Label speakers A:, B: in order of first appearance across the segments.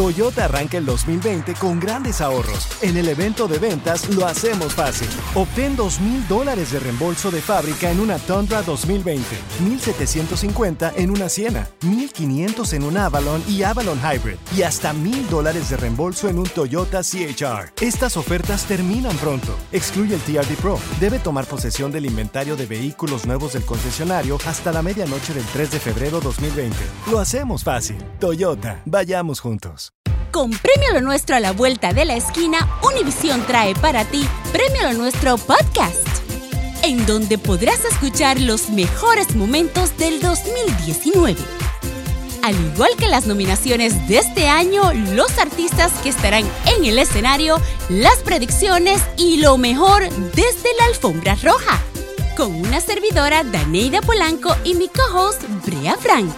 A: Toyota arranca el 2020 con grandes ahorros. En el evento de ventas lo hacemos fácil. Obtén 2.000 dólares de reembolso de fábrica en una Tundra 2020, 1.750 en una Siena, 1.500 en un Avalon y Avalon Hybrid y hasta 1.000 dólares de reembolso en un Toyota CHR. Estas ofertas terminan pronto. Excluye el TRD Pro. Debe tomar posesión del inventario de vehículos nuevos del concesionario hasta la medianoche del 3 de febrero 2020. Lo hacemos fácil. Toyota, vayamos juntos.
B: Con Premio Lo Nuestro a la vuelta de la esquina, Univisión trae para ti Premio Lo Nuestro Podcast, en donde podrás escuchar los mejores momentos del 2019. Al igual que las nominaciones de este año, los artistas que estarán en el escenario, las predicciones y lo mejor desde la alfombra roja. Con una servidora, Daneida Polanco y mi co-host, Brea Frank.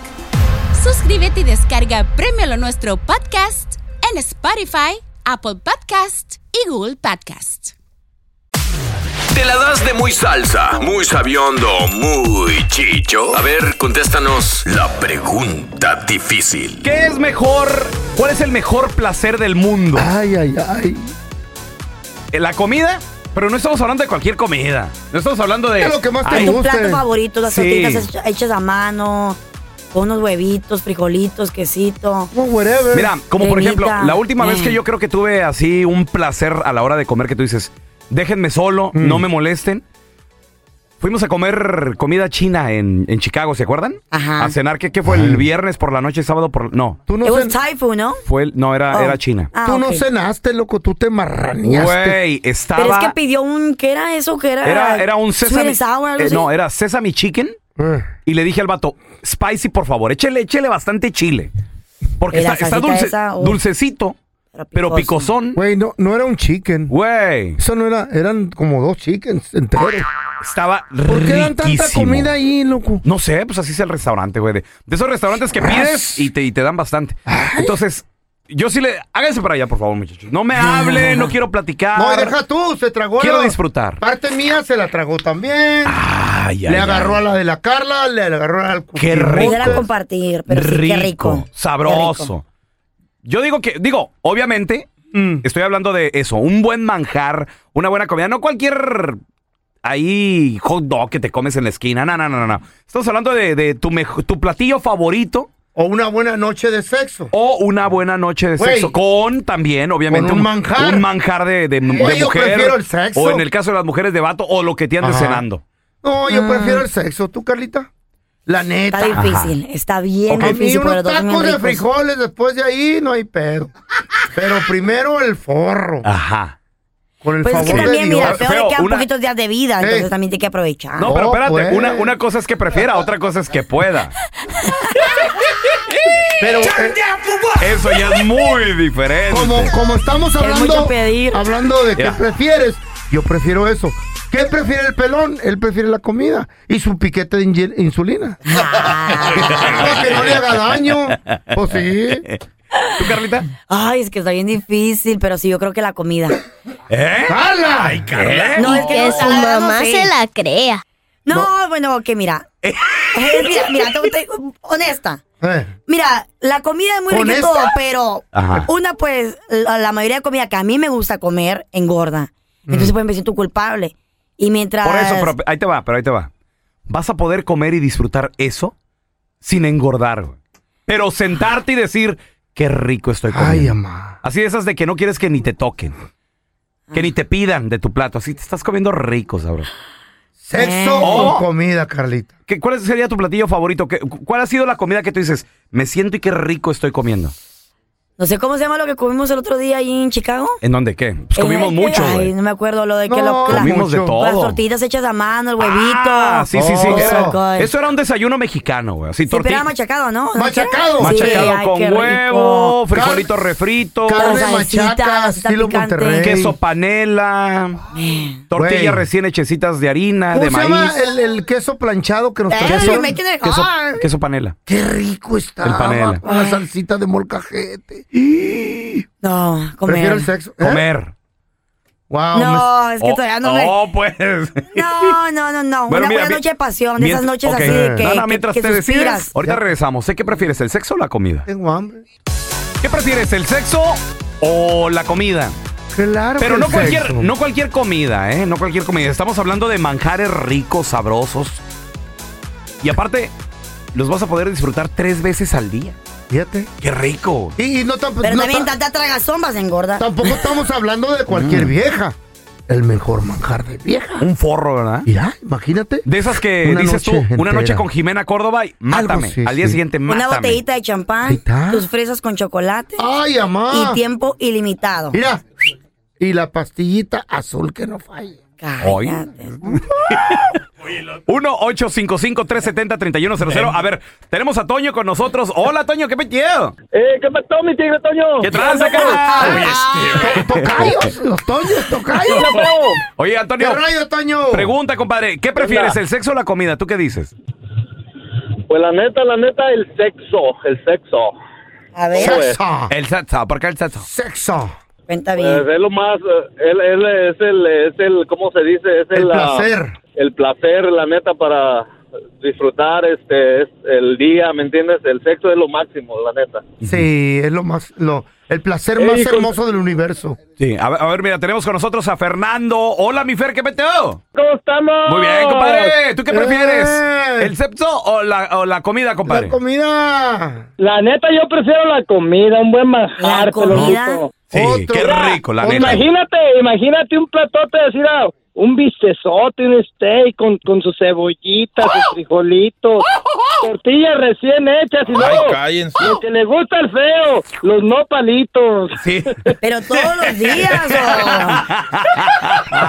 B: Suscríbete y descarga Premio Lo Nuestro Podcast en Spotify, Apple Podcast y Google Podcast.
C: ¿Te la das de muy salsa, muy sabiondo, muy chicho? A ver, contéstanos la pregunta difícil.
D: ¿Qué es mejor? ¿Cuál es el mejor placer del mundo? Eh,
E: Ay, ay, ay.
D: La comida, pero no estamos hablando de cualquier comida. No estamos hablando de.
E: ¿Qué es lo que más te
D: Ay,
E: gusta?
F: Tu plato favorito, las
D: Sí.
F: tortitas hech- hechas a mano, con unos huevitos, frijolitos, quesito.
E: No, whatever.
D: Mira, como por ejemplo,
F: Cremita.
D: la última vez que
F: Mm.
D: yo creo que tuve así un placer a la hora de comer, que tú dices, déjenme solo,
E: Mm.
D: no me molesten. Fuimos a comer comida china en, en Chicago, ¿se acuerdan?
F: Ajá.
D: A cenar, ¿qué, qué fue? ¿El viernes por la noche, sábado por...? No,
E: tú no,
F: It was
E: cen-
F: Thai food, ¿no?
D: fue el- no era,
F: Oh.
D: era China.
F: Ah,
E: tú no
F: ok.
E: cenaste, loco. Tú te marraneaste.
D: Güey, estaba...
F: Pero es que pidió un, ¿qué era eso? ¿Qué era?
D: era, era un
F: Ah, Sweet
D: sesame...
F: and sour, algo
D: eh,
F: así.
D: no, era sesame chicken.
E: Eh.
D: Y le dije al vato, spicy, por favor, échele, échele bastante chile. Porque
F: Y la
D: está, está
F: salsita
D: dulce-
F: esa, uh.
D: dulcecito,
F: Pero
D: eh, pero
F: picoso.
D: picosón.
E: Güey, no, no era un chicken.
D: Güey,
E: Eso no era, eran como dos chickens enteros.
D: estaba
E: ¿Por qué dan tanta
D: riquísimo.
E: comida ahí, loco?
D: No sé, pues así es el restaurante, güey. De, de esos restaurantes que pides y te, y te dan bastante. Entonces, yo sí le... Háganse para allá, por favor, muchachos. No me hable, no quiero platicar.
E: No, y deja tú, se tragó.
D: Quiero
E: la-
D: disfrutar. Ah,
E: Parte mía se la tragó también.
D: Ay, ay, ay.
E: le agarró a la de la Carla, le agarró al
D: Qué rico.
F: Era compartir, pero sí, qué rico.
D: Sabroso. Yo digo que, digo, obviamente,
E: Mm.
D: estoy hablando de eso, un buen manjar, una buena comida, no cualquier ahí hot dog que te comes en la esquina, no, no, no, no, no. Estamos hablando de, de tu, mejo- tu platillo favorito
E: O una buena noche de sexo.
D: o una buena noche de
E: Güey.
D: sexo con también, obviamente,
E: Con un manjar.
D: un manjar de, de- de
E: Güey, yo
D: mujer,
E: prefiero el sexo.
D: o en el caso de las mujeres de vato, o lo que te andes
E: Ajá.
D: cenando. Ah.
E: No, yo prefiero el sexo. ¿Tú, Carlita? La neta.
F: Está difícil, está bien
E: A mí
F: difícil. pero
E: unos
F: los dos son bien
E: tacos de
F: ricos.
E: frijoles después de ahí no hay pedo. Pero primero el forro.
D: Ajá.
E: Con el
F: Pues es
E: favor
F: que también,
E: de
F: mira,
E: Dios.
F: peor le
D: Feo,
F: quedan
D: una-
F: poquitos días de vida,
E: Sí.
F: entonces también tiene que aprovechar.
D: No, pero
E: No,
D: espérate,
E: pues.
D: una, una cosa es que prefiera, otra cosa es que pueda.
E: Pero eh,
D: Eso ya es muy diferente.
E: como, como estamos hablando,
F: mucho pedir.
E: hablando de qué
D: Mira.
E: prefieres, yo prefiero eso. ¿Qué prefiere el pelón? Él prefiere la comida y su piquete de inye- insulina. Para que no le haga daño. Pues sí.
D: ¿Tú, Carlita?
F: Ay, es que está bien difícil, pero sí, yo creo que la comida.
D: ¿Eh?
E: ¡Hala!
D: Carla.
F: No, es
G: Que su
F: la verdad,
G: mamá
F: sé.
G: se la crea.
F: No, bueno, que mira. Eh, mira, mira, te- te- honesta.
E: Eh,
F: Mira, la comida es muy rica y
E: ¿Honesta?
F: todo, pero
D: Ajá.
F: una, pues, la, la mayoría de comida que a mí me gusta comer engorda. Entonces, pues, me siento culpable. Y mientras...
D: Mm. Por eso, pero ahí te va, pero ahí te va. Vas a poder comer y disfrutar eso sin engordar, güey. Pero sentarte y decir, qué rico estoy
E: Ay,
D: comiendo.
E: mamá.
D: así de esas de que no quieres que ni te toquen. Que ni te pidan de tu plato. Así te estás comiendo rico, sabroso.
F: Eh.
E: Sexo
D: Oh.
E: o comida, Carlita.
D: ¿Qué- ¿Cuál sería tu platillo favorito? ¿Qué- cu- ¿Cuál ha sido la comida que tú dices, me siento y qué rico estoy comiendo?
F: No sé cómo se llama lo que comimos el otro día ahí en Chicago.
D: ¿En dónde qué? Pues comimos
F: Eh,
D: mucho,
F: Ay,
D: güey.
F: no me acuerdo lo de que
E: No,
F: lo, la-
D: Comimos de
E: mucho.
D: todo.
F: las tortitas hechas a mano, el huevito.
D: Ah, sí, sí, sí.
E: Oh,
D: Era-
E: so
F: good.
D: eso era un desayuno mexicano, güey. Así,
F: Sí, pero
D: tortilla.
F: era machacado, ¿no? ¿No
E: Machacado.
F: era? Sí,
D: machacado
F: ay,
D: con
F: qué rico.
D: huevo, frijolito refrito,
E: Carne
F: salsita,
E: machaca,
F: salsita
E: estilo
F: picante.
E: Monterrey.
D: queso panela, tortillas
E: Güey.
D: recién hechecitas de harina,
E: ¿Cómo
D: de
E: se llama
D: maíz.
F: Eh,
E: el, el queso planchado que nos
D: Queso,
E: trajeron?
D: queso, queso panela.
E: Qué rico está.
D: El panela.
E: Con la salsita de molcajete.
F: No, comer.
E: Prefiero el sexo. ¿Eh?
D: Comer.
E: Wow. me-
F: No, es que
D: Oh,
F: todavía no me...
D: oh, pues.
F: No, no, no, no.
D: Bueno,
F: una
D: mira,
F: buena
D: mi-
F: noche de pasión, de esas
D: mientras-
F: noches
D: ok.
F: así de que,
D: No, no,
F: que-
D: mientras
F: que
D: te decides,
F: suspiras.
D: ahorita regresamos. ¿Sé qué prefieres, el sexo o la comida?
E: Tengo hambre.
D: ¿Qué prefieres, el sexo o la comida?
E: Claro.
D: Pero
E: que
D: no
E: el
D: cualquier,
E: sexo.
D: no cualquier comida, ¿eh? No cualquier comida. Estamos hablando de manjares ricos, sabrosos. Y aparte, los vas a poder disfrutar tres veces al día.
E: Fíjate.
D: ¡Qué rico!
E: Y, y no, tam-
D: pues
F: Pero
E: no
F: también
E: ta-
F: tanta tragazón vas a engordar.
E: tampoco estamos hablando de
F: Mm.
E: cualquier vieja. El mejor manjar de vieja.
D: Un forro, ¿verdad?
E: Mira, imagínate.
D: De esas que
E: Una
D: dices tú,
E: noche
D: una noche
E: entera.
D: con Jimena Córdoba y mátame.
E: sí,
D: al día
E: sí.
D: siguiente, mátame. Ah.
F: Una botellita de
E: Ahí
F: champán,
E: está.
F: tus fresas con chocolate
E: Ay, amá.
F: y tiempo ilimitado.
E: Mira. Y la pastillita azul que no falle.
D: Hoy.
F: Cállate.
D: 1-855-370-3100. A ver, tenemos a Toño con nosotros. Hola, Toño, ¿qué metido?
G: Eh, ¿qué pasó, mi tigre Toño?
D: ¿Qué tranza, carnal?
E: To- Tocayos, los toños,
G: ¿Qué
E: tocayos.
G: onda, feo?
D: Oye,
E: ¿Qué
D: Antonio,
E: rayo, Toño?
D: pregunta, compadre. ¿Qué prefieres, el sexo o la comida? ¿Tú qué dices?
G: Pues la neta, la neta, el sexo, el sexo.
F: A ver,
E: Sexo.
D: El salsa. ¿Por qué el salsa?
E: Sexo.
F: cuenta
G: Pues
F: bien.
G: es lo más, eh, él, él es el, es el, ¿cómo se dice? Es el,
E: El
G: ah,
E: placer.
G: el placer, la neta, para disfrutar este es el día, ¿me entiendes? El sexo es lo máximo, la neta.
E: Sí, es lo más, lo, el placer
G: Ey,
E: más
G: con-
E: hermoso del universo.
D: Sí, a ver, a ver, mira, tenemos con nosotros a Fernando. Hola, mi Fer, ¿qué metido?
G: ¿Cómo estamos?
D: Muy bien, compadre. ¿Tú qué
E: Eh.
D: prefieres? ¿El sexo o la, o la comida,
E: La
D: compadre?
E: comida.
G: La neta, yo prefiero la comida, un buen manjar.
F: La
G: te lo
F: comida.
G: juro.
D: Sí,
E: Otro.
D: qué rico, Pues la neta.
G: Pues Imagínate, imagínate un platote así, mira, un bistezote, un steak con, con su cebollita,
D: ¡Oh!
G: sus frijolitos, tortillas recién hechas y luego lo que le gusta al feo, los nopalitos.
D: Sí.
F: Pero todos los días. oh.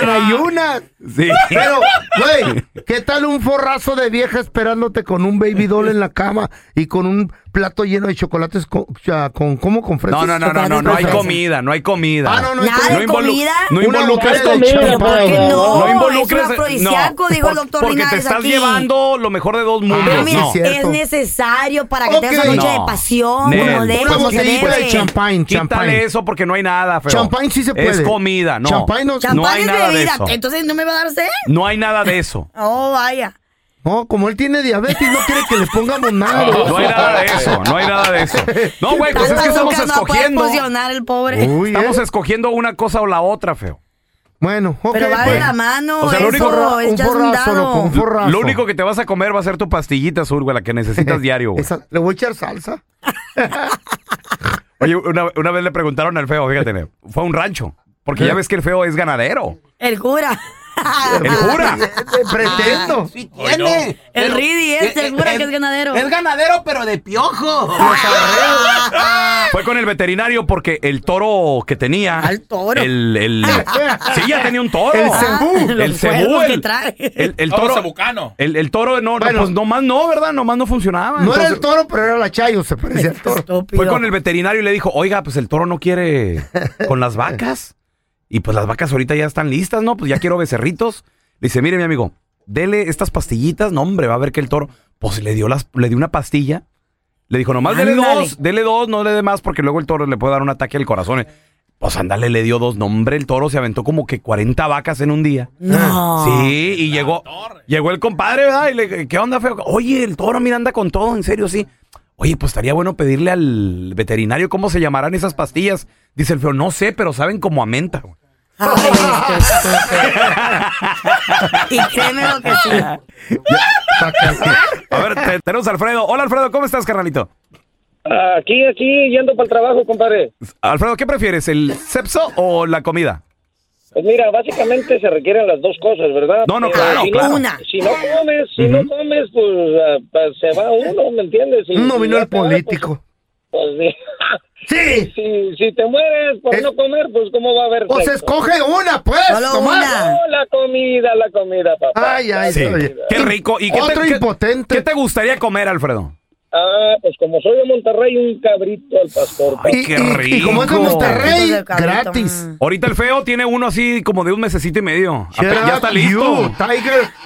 E: En ayunas.
D: Sí.
E: Pero, güey, ¿qué tal un forrazo de vieja esperándote con un baby doll en la cama y con un plato lleno de chocolates con, ya, con ¿cómo? Con fresas?
D: No, no, no, no, no, no hay comida, no hay comida.
E: Ah, no, no, hay
F: Nada
E: comida.
F: de
D: involu-
F: comida.
D: no
E: Una
D: involucres
E: botella de
G: comida,
E: champán.
G: ¿por qué
F: no?
D: No,
F: es
D: involucres.
F: un afrodisíaco, dijo el doctor
D: Porque te
F: Linares
D: estás
F: aquí.
D: llevando lo mejor de dos mundos.
F: Pero
E: Ah,
F: mira,
D: no.
E: sí,
F: es
E: cierto.
F: necesario para que
E: Ok.
F: tengas una noche
D: No.
F: de pasión,
D: Nel. pues,
F: como debe,
E: Una
F: como se
E: botellita de
F: debe.
E: champán, champán.
D: Quítale eso porque no hay nada, feo.
E: Champán sí se puede.
D: Es comida, no.
E: Champán no-
F: Champán
D: No hay
F: es
D: nada de
F: bebida,
D: eso.
F: entonces no me va a dar sed.
D: No hay nada de eso.
F: Oh, vaya.
E: No, como él tiene diabetes, no quiere que le pongamos nada. de eso.
D: No hay nada de eso, no hay nada de eso. No, güey, pues es
F: Tanta
D: que estamos
F: azúcar no va a poder
D: escogiendo.
F: funcionar el pobre.
E: Uy,
D: Estamos
E: eh.
D: escogiendo una cosa o la otra, feo.
E: Bueno, ok.
F: Pero va de
E: pues.
F: la mano,
D: O sea, lo
F: eso
D: único-
F: es
E: un
F: ya es un
E: forrazo,
F: dado.
E: loco, un forrazo. Eh,
D: Lo único que te vas a comer va a ser tu pastillita azul, güey, la que necesitas diario, güey.
E: Esa- le voy a echar salsa.
D: Oye, una, una vez le preguntaron al feo, fíjate, fue a un rancho. Porque
E: Eh.
D: ya ves que el feo es ganadero.
F: El cura. Ah,
D: El jura.
E: Pretendo.
F: El Ridi este, el cura que es ganadero.
H: ganadero, pero de piojo.
D: Fue con el veterinario porque el toro que tenía.
F: Al toro.
D: El, el- sí, ya tenía un toro.
E: El cebú.
D: El
F: Los
D: cebú.
F: cuernos que
D: El,
F: trae.
D: el- el toro. El, el toro, no, no,
E: Bueno.
D: pues nomás no, ¿verdad? Nomás no funcionaba.
E: No era el
D: Entonces,
E: toro, pero era la chayo, se parecía
F: Pues,
E: al toro.
F: Estúpido.
D: Fue con el veterinario y le dijo, oiga, pues el toro no quiere con las vacas. Y pues las vacas ahorita ya están listas, ¿no? Pues ya quiero becerritos. Le dice, mire, mi amigo, dele estas pastillitas. No, hombre, va a ver que el toro, pues le dio las, le dio una pastilla. Le dijo, nomás dele
F: Ándale.
D: dos, dele dos, no le dé más, porque luego el toro le puede dar un ataque al corazón. Pues ándale, le dio dos. No, hombre, el toro se aventó como que 40 vacas en un día.
F: No.
E: Ah.
D: Sí, y llegó, llegó el compadre, ¿verdad? Y le, ¿qué onda, feo? Oye, el toro, mira, anda con todo, en serio, sí. Oye, pues estaría bueno pedirle al veterinario cómo se llamarán esas pastillas. Dice el feo, no sé, pero saben como a menta. güey.
F: Ay, este estúpido. y créeme lo que sí.
D: A ver, te- tenemos a Alfredo. Hola, Alfredo, ¿cómo estás, carnalito?
G: Aquí, aquí, yendo para el trabajo, compadre.
D: Alfredo, ¿qué prefieres, el sexo o la comida?
G: Pues mira, básicamente se requieren las dos cosas, ¿verdad?
D: No, no, claro,
G: si
D: claro.
F: Una.
G: Si no comes, si no comes, pues, ah, pues, se va uno, ¿me entiendes? Y-
E: No
G: y
E: vino
G: ya
E: el
G: te va, pues,
E: político.
G: pues,
E: Sí.
G: si, si te mueres por
E: Es-
G: no comer, pues ¿cómo va a haber
E: O se
G: sexo?
E: escoge una, pues.
F: Solo
E: nomás.
F: una.
G: No, la comida, la comida, papá.
E: Ay, ay,
D: Sí.
E: oye.
D: Qué rico. ¿Y qué
E: Otro
D: te, qué-
E: impotente.
D: ¿Qué te gustaría comer, Alfredo?
G: Ah, pues como soy de Monterrey, un cabrito al pastor. papá.
D: Ay, qué
E: y, y como es de
D: rico.
E: Monterrey,
F: Entonces, cabrito,
E: gratis.
F: mm.
D: Ahorita el feo tiene uno así como de un mesecito y medio. Ape-
E: Shut
D: ya está
E: you,
D: listo.
E: Tiger,